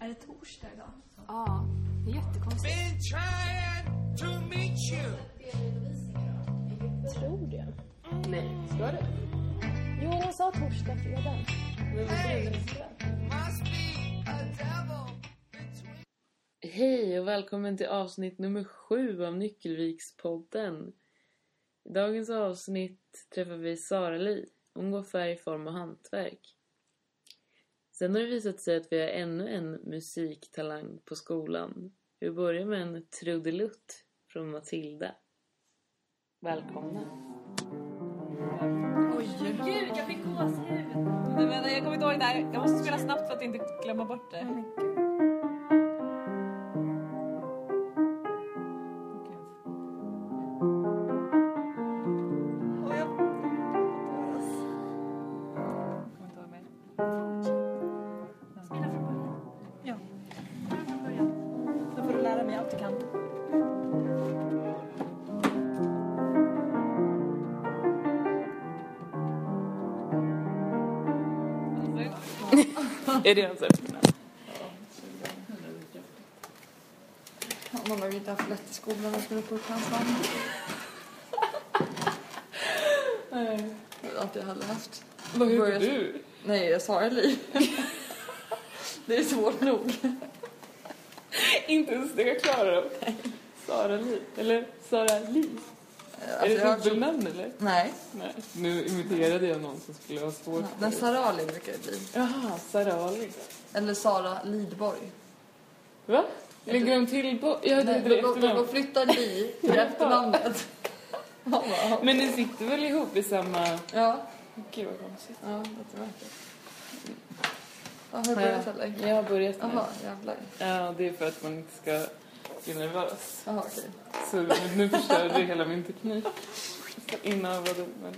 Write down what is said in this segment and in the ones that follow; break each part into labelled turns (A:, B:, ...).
A: Är det torsdag idag?
B: Ja, det är jättekonstigt.
C: Been trying to meet you.
D: Tror det.
B: Nej, ska du?
D: Jo, hon sa torsdag, fredag.
C: Hey, must be a devil between.
E: Hej och välkommen till avsnitt nummer sju av Nyckelvikspodden. I dagens avsnitt träffar vi Sara Li. Hon går färg, form och hantverk. Sen har det visat sig att vi har ännu en musiktalang på skolan. Vi börjar med en trudelutt från Matilda. Välkomna.
F: Gud, jag fick gåshud! Nej, men Jag kommer inte ihåg det där. Jag måste spela snabbt för att inte glömma bort det. Åh, jag- Jag kommer inte ihåg mer. Ja. Då får du lära mig allt du kan.
E: Är det ens
G: Man har ju inte haft lätt i skolan att skriva upp hans namn. Nej. Allt jag hade haft. Vad gjorde du? Nej, jag sa liv. det är svårt nog.
E: Inte ens det klarar de. Sara Li. Eller Sara Li.
G: Alltså, jag har-
E: eller?
G: Nej,
E: Nej. Nu imiterade jag någon som skulle ha svårt
G: men Sara Ali brukar det bli.
E: Jaha, Sara Ali.
G: Eller Sara Lidborg.
E: Va? Lägger hon till bo- Ja, det
G: Nej,
E: är
G: då,
E: det
G: då, då
E: efternamn.
G: flyttar Li till efternamnet. Ja, va.
E: Men ni sitter väl ihop i samma...
G: ja,
E: Gud vad konstigt.
G: ja, jättemärkligt. Ja, har du börjat eller?
E: Jag har börjat nu.
G: Jaha, jävlar.
E: Ja, det är för att man inte ska bli nervös.
G: Jaha, okej.
E: Så nu förstörde du hela min teknik. Så Inavade. Men...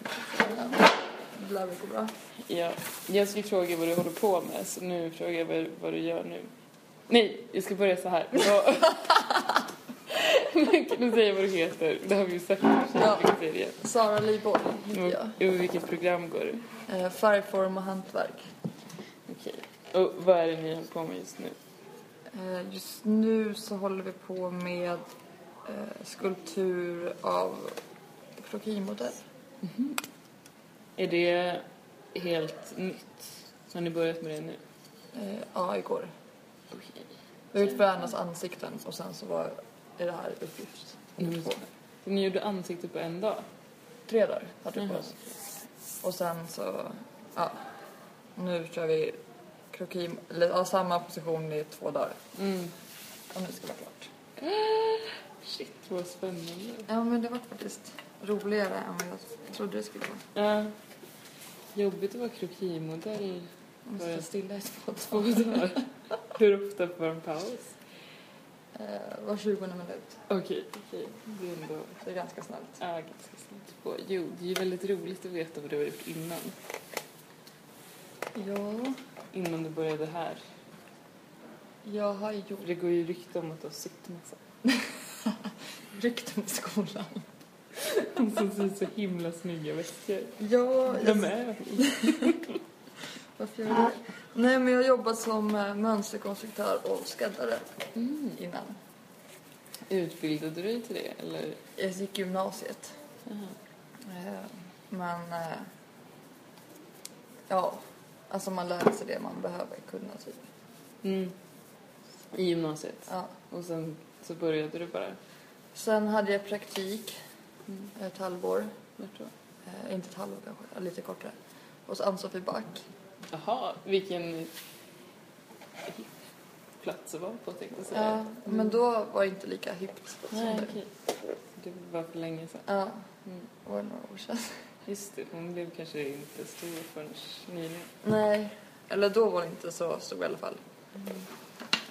G: Det lär väl gå bra.
E: Ja. Jag skulle fråga vad du håller på med, så nu frågar jag vad, vad du gör nu. Nej, jag ska börja så här. Jag... Men kan du säga vad du heter? Det har vi ju sagt i och för sig.
G: Ja.
E: Vi kan säga det igen.
G: Sara Lidborg heter jag.
E: Och, och vilket program går du?
G: Eh, Färgform och hantverk.
E: Okej. Och vad är det ni håller på med just nu?
G: Eh, Just nu så håller vi på med eh, skulptur av krokimodell.
E: Är det helt nytt? Har ni börjat med det nu?
G: Eh, Ja, igår.
E: Okej.
G: Vi har gjort varandras ansikten och sen så var är det här uppgift.
E: Mm.
G: Två.
E: Så ni gjorde ansiktet på en dag?
G: Tre dagar hade vi på
E: Jaha.
G: oss. Och sen så, ja. Nu kör vi krokim, eller ja, samma position i två dagar.
E: Mm.
G: Och nu ska det vara klart.
E: Shit, vad spännande.
G: Ja, men det var faktiskt roligare än vad jag trodde det skulle vara.
E: Ja. Jobbigt att vara krokimodell
G: Om
E: Var
G: jag
E: det-
G: ska stilla i två
E: två dagar. Hur ofta får man paus?
G: Eh, var 20 minut.
E: Okej, okej. Det är ändå
G: Det är ganska snällt.
E: ja, ganska snabbt på. Jo, det är ju väldigt roligt att veta vad du har gjort innan.
G: Ja,
E: Innan du började här.
G: jag har gjort
E: För det går ju rykte om att du har sytt massa.
G: rykten i skolan.
E: Som ser så himla snygga väskor.
G: Ja,
E: Vem är hon?
G: varför gör jag det? Nej, men jag har jobbat som eh, mönsterkonstruktör och skräddare innan.
E: Utbildade du dig till det eller?
G: Jag gick gymnasiet. Eh, Men, eh, ja, alltså man lär sig det man behöver kunna typ.
E: Mm. I gymnasiet.
G: Ja.
E: Och sen så började du bara.
G: Sen hade jag praktik ett halvår.
E: Vart då?
G: Eh, Inte ett halvår kanske, ja, lite kortare. Hos Ann-Sofie Back.
E: Jaha, vilken plats att vara på tänkte jag säga.
G: Ja, Eh, men då var det inte lika hippt som
E: mm. Nej,
G: nu.
E: okej. Det var för länge sedan.
G: Ja,
E: Mm.
G: det var några år sedan.
E: Just det, hon blev kanske inte stor förrän nyligen.
G: Nej, eller då var det inte så stor i alla fall.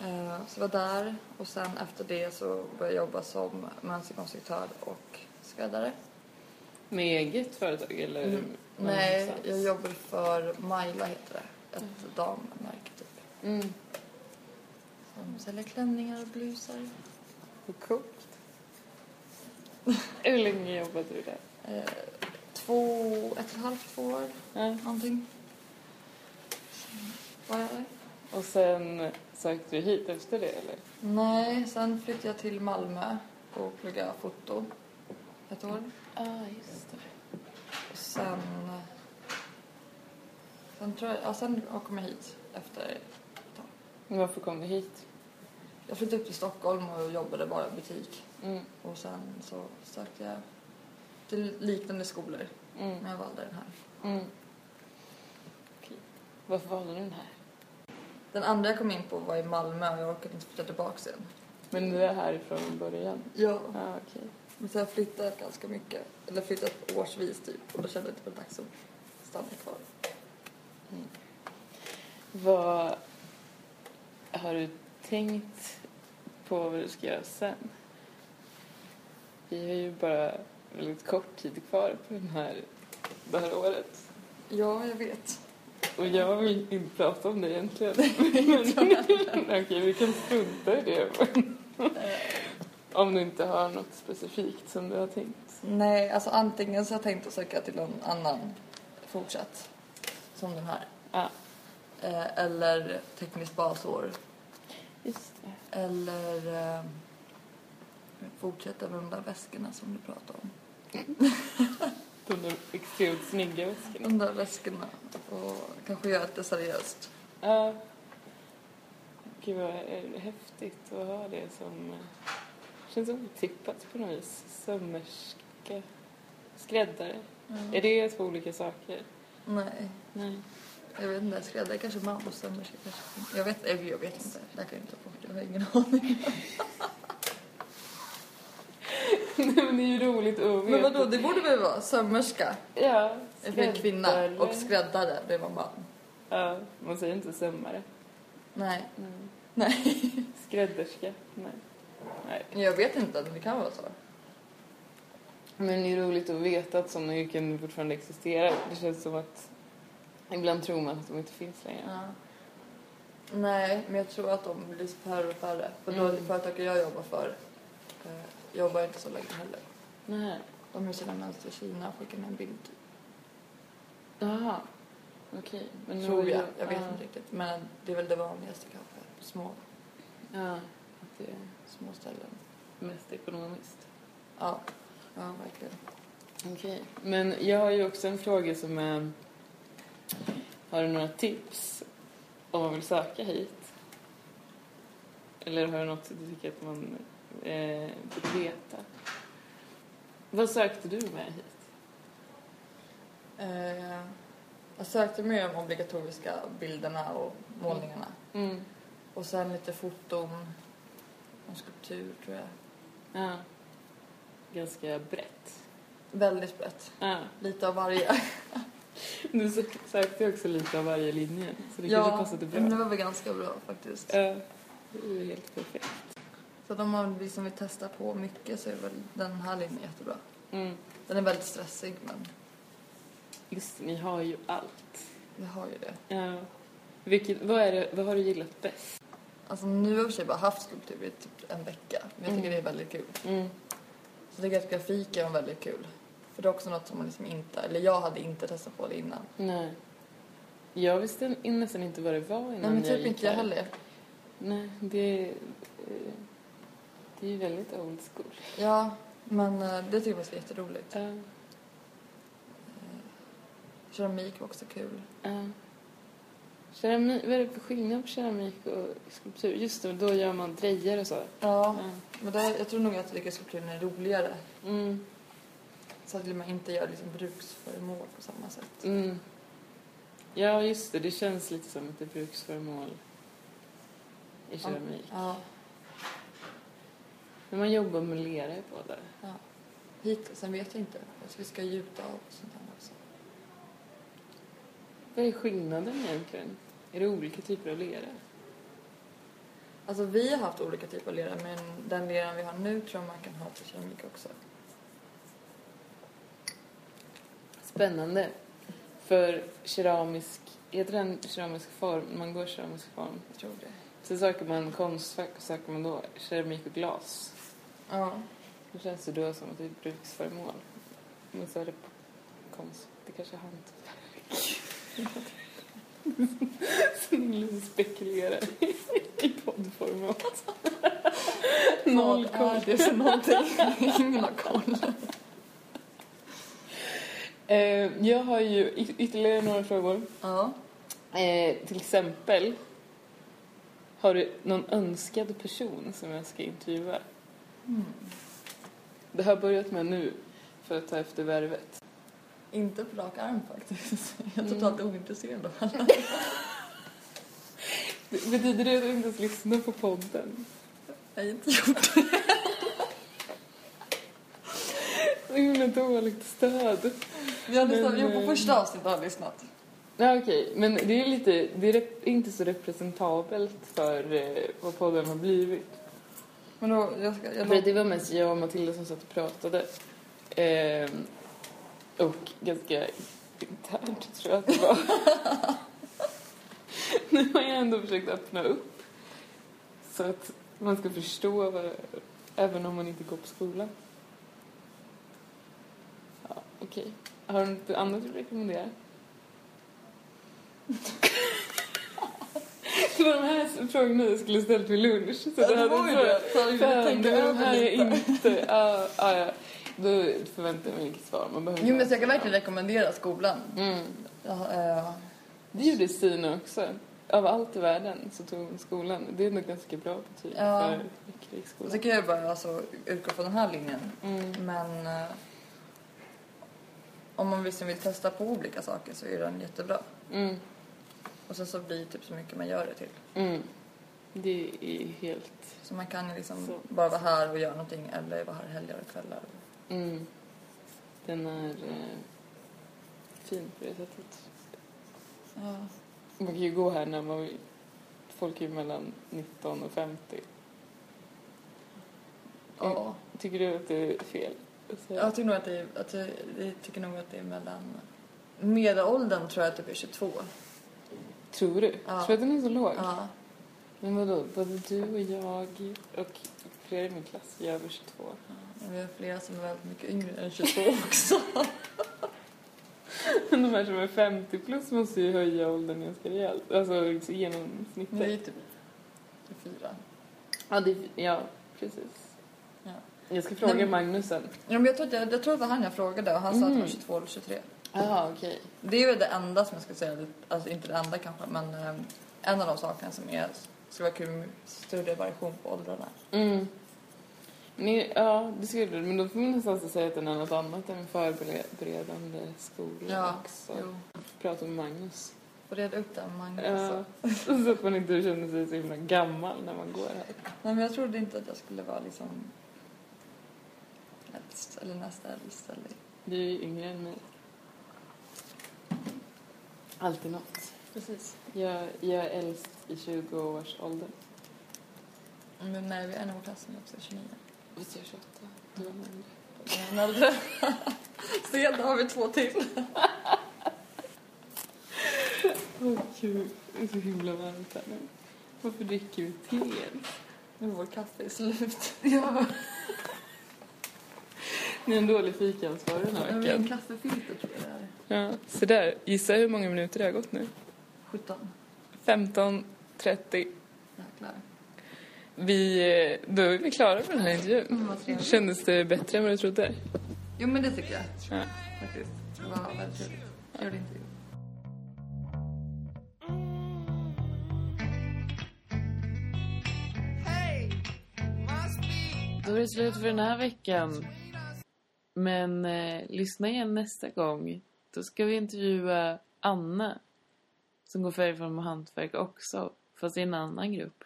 G: Eh, Så jag var där och sen efter det så började jag jobba som mönsterkonstruktör och skräddare.
E: Med eget företag eller?
G: Mm.
E: någon
G: Nej,
E: annanstans?
G: jag jobbade för Maila heter det. Ett dammärke typ.
E: Mm.
G: Som säljer klänningar och blusar.
E: Vad coolt. Hur länge jobbade du där?
G: Eh, Två, ett och ett halvt, två år
E: Ja.
G: någonting. Sen var jag där.
E: Och sen sökte du hit efter det eller?
G: Nej, sen flyttade jag till Malmö och pluggade foto ett år.
E: Ja, ah, just det.
G: Och sen... Sen, tror jag, ja, sen kom jag hit efter...
E: Men varför kom du hit?
G: Jag flyttade upp till Stockholm och jobbade bara i butik.
E: Mm,
G: Och sen så sökte jag till liknande skolor,
E: mm,
G: men jag valde den här.
E: mm. Okej. Varför valde du den här?
G: Den andra jag kom in på var i Malmö och jag orkade inte flytta tillbaka igen.
E: Men du är härifrån från början?
G: Ja.
E: Ja, ah, okej.
G: Men så har jag flyttat ganska mycket, eller flyttat årsvis typ och då kände jag att det var dags att stanna kvar.
E: Vad har du tänkt på vad du ska göra sen? Vi har ju bara väldigt kort tid kvar på den här, det här året.
G: Ja, jag vet.
E: Och jag vill inte prata om det egentligen. Men, okej, vi kan strunta i det. om du inte har något specifikt som du har tänkt.
G: Nej, alltså antingen så har jag tänkt att söka till någon annan fortsatt, som den här.
E: Ja.
G: Eh, eller tekniskt basår.
E: Just det.
G: Eller eh, fortsätta med de där väskorna som du pratade om.
E: De där extremt snygga väskorna.
G: De där väskorna. Och kanske göra det seriöst.
E: Ja. Gud vad eh, häftigt att ha det som eh, känns otippat på något vis. Sömmerska, skräddare. Är det två olika saker?
G: Nej,
E: Nej.
G: jag vet inte. Skräddare kanske man och sömmerska kanske. Jag vet, eh, jag vet inte. Det här kan jag inte ta bort. Jag har ingen aning.
E: Men det är ju roligt att veta.
G: Men vadå, det borde väl vara sömmerska?
E: Ja,
G: För en kvinna. Och skräddare, det var man.
E: Ja, man säger inte sömmare.
G: Nej,
E: Mm. Nej. Skrädderska. Nej. Nej.
G: jag vet inte. Men det kan vara så.
E: Men det är roligt att veta att sådana yrken fortfarande existerar. Det känns som att ibland tror man att de inte finns längre.
G: Ja. Nej, men jag tror att de blir färre och färre. För då
E: Mm.
G: det företaget jag jobbar för eh, jobbar inte så länge heller.
E: Nej.
G: De gör sina mönster i Kina och skickar med en bild. typ.
E: Jaha. Okej. Men nu
G: tror
E: är
G: jag.
E: det-
G: Jag vet
E: ja.
G: inte riktigt. Men det är väl det vanligaste kanske. Små,
E: Ja, att det är
G: små ställen.
E: mest ekonomiskt.
G: Ja. ja, verkligen.
E: Okej. Men jag har ju också en fråga som är... Har du några tips om man vill söka hit? Eller har du något du tycker att man eh, borde veta? Vad sökte du med hit?
G: Eh, jag sökte med de obligatoriska bilderna och målningarna.
E: Mm.
G: Och sen lite foton och skulptur tror jag.
E: Ja. Ganska brett.
G: Väldigt brett.
E: Ja.
G: Lite av varje.
E: Du sö- sökte också lite av varje linje, så det kanske passade bra.
G: men det var väl ganska bra faktiskt.
E: Ja. Det är ju helt perfekt.
G: Så de man liksom vill testa på mycket så är väl den här linjen jättebra.
E: Mm.
G: Den är väldigt stressig men
E: Just det, ni har ju allt.
G: vi har ju det.
E: Ja. Vilket, vad, är det, vad har du gillat bäst?
G: Alltså nu har jag i och för sig bara haft skulptur i typ en vecka men jag tycker
E: Mm.
G: det är väldigt kul.
E: Mm.
G: Så jag tycker att grafik är väldigt kul. För det är också något som man liksom inte, eller jag hade inte testat på det innan.
E: Nej. Jag visste n- nästan inte vad det var innan
G: Nej men
E: jag
G: typ
E: gick
G: inte jag
E: här.
G: heller.
E: Nej, det, eh, det är ju väldigt old school.
G: Ja, men eh, det tycker jag var jätteroligt.
E: Ja,
G: Keramik var också kul.
E: ja. Keramik, vad är det för skillnad på keramik och skulptur? Just det, då gör man drejer och så.
G: Ja,
E: Ja.
G: men det, jag tror nog att jag tycker skulpturen är roligare.
E: Mm.
G: Så att man inte gör liksom bruksföremål på samma sätt.
E: Mm. Ja, just det. Det känns lite som ett bruksföremål i keramik.
G: Ja.
E: När man jobbar med lera i båda.
G: Hit, sen vet jag inte. Alltså, vi ska gjuta av och sånt här också.
E: Vad är skillnaden egentligen? Är det olika typer av lera?
G: Alltså vi har haft olika typer av lera men den leran vi har nu tror jag man kan ha till keramik också.
E: Spännande. För keramisk, heter den keramisk form? Man går keramisk form.
G: Jag tror det.
E: Sen söker man konstfack och söker man då keramik och glas.
G: Ja.
E: Det känns ju då som att det är ett bruksföremål. Men så är det konst. Det kanske är hantverk. Som Lise spekulerar i poddformat. Noll koll.
G: det för någonting? Ingen har koll.
E: Eh, Jag har ju y- ytterligare några frågor.
G: Ja.
E: Eh, till exempel, har du någon önskad person som jag ska intervjua?
G: Mm.
E: Det har jag börjat med nu, för att ta efter värvet.
G: Inte på rak arm faktiskt. Jag är totalt ointresserad av alla.
E: Det- Betyder det att du inte ens lyssnar på podden?
G: Jag har inte gjort
E: Så himla dåligt stöd.
G: det. Vi har lyssnat,
E: Men,
G: jo, på
E: eh,
G: första avsnittet har jag lyssnat.
E: Ja, okej, men det är lite, det är rep- inte så representabelt för eh, vad podden har blivit.
G: Men då, jag ska, jag
E: För
G: låter,
E: det var mest jag och Matilda som satt och pratade. Ehm, och ganska internt tror jag att det var. nu har jag ändå försökt öppna upp. Så att man ska förstå vad, även om man inte går på skolan. Ja, Okej. Har du något annat du rekommenderar? det var de här frågorna jag skulle ställt vid lunch. Så
G: Ja,
E: det
G: det
E: hade
G: var ju
E: varit-
G: det. Så jag ville
E: Fan,
G: tänka
E: det var de
G: över
E: Mm. här jag
G: lite.
E: inte... Ja, ja, ja. Då förväntar jag mig inget svar. Man behöver
G: Jo,
E: inte
G: men så jag kan
E: ens-
G: verkligen rekommendera skolan.
E: Mm.
G: Ja, eh,
E: Det gjorde Stina också. Av allt i världen så tog hon skolan. Det är nog ganska bra betyg
G: Ja.
E: för
G: och
E: krigsskolan.
G: så kan jag bara alltså, utgå från den här linjen.
E: Mm.
G: Men eh, om man liksom vill testa på olika saker så är den jättebra.
E: Mm.
G: Och sen så blir det typ så mycket man gör det till.
E: Mm. Det är helt...
G: Så man kan ju liksom
E: Så.
G: bara vara här och göra någonting eller vara här helger och kvällar.
E: Mm. Den är eh, fin på det sättet.
G: Ja.
E: Man kan ju gå här när man vill. Folk är ju mellan 19 och 50.
G: ja.
E: Tycker du att det är fel? Så-
G: Jag tycker nog att det är, att det, jag tycker nog att det är mellan... Medelåldern tror jag typ är 22.
E: Tror du?
G: Ja.
E: Tror du att den är så låg?
G: Ja.
E: Men vadå, både du och jag och flera i min klass är över 22.
G: Men vi har flera som är väldigt mycket yngre än 22 också.
E: Men de här som är 50 plus måste ju höja åldern ganska rejält. Alltså
G: Men det är
E: genomsnittet.
G: ju typ 24.
E: Ja, det, ja precis.
G: Ja.
E: Jag ska fråga
G: Men-
E: Magnus sen.
G: Ja, men jag, tror att jag, jag tror det var han jag frågade och han sa att han var
E: Mm.
G: 22 eller 23.
E: Jaha, okej.
G: Det är ju det enda som jag skulle säga, alltså inte det enda kanske, men eh, en av de sakerna som är, skulle vara kul med större variation på åldrarna.
E: Mm. Ni, ja, det skulle du. Men då får man nästan så säga att den är något annat än förberedande skola
G: Ja,
E: också.
G: jo.
E: Prata med Magnus.
G: Och reda upp den Magnus.
E: Ja.
G: Mm, så.
E: så att man inte känner sig så himla gammal när man går här.
G: Nej, men jag trodde inte att jag skulle vara liksom äldst eller liksom. näst äldst eller
E: Du är ju yngre än mig. Alltid något.
G: Precis.
E: Jag, jag är äldst i 20-årsåldern.
G: Men när vi är i vår klass nu också, 29.
E: Visst är jag 28? Du var yngre.
G: Men äldre. Se, då har vi två till.
E: Åh gud, det är så himla varmt här nu. Varför dricker vi te ens?
G: Nu vår kaffe är slut.
E: Ja. Ni är en dålig fikaansvarig den här
G: Men min
E: veckan.
G: kaffefilter tror jag det är.
E: Ja, så där. Gissa hur många minuter det har gått nu?
G: 17.
E: 15.30.
G: Jäklar.
E: Vi, eh, då är vi klara med den här intervjun.
G: vad trevligt.
E: Kändes det bättre än vad du trodde?
G: Jo, men det tycker jag
E: Ja.
G: faktiskt. Det var väldigt trevligt. Kul intervju.
C: Hey, must be
E: Då är det slut för den här veckan. Men eh, lyssna igen nästa gång. Då ska vi intervjua Anna som går färgform och hantverk också, fast i en annan grupp.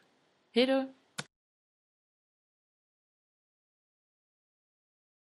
E: Hej då!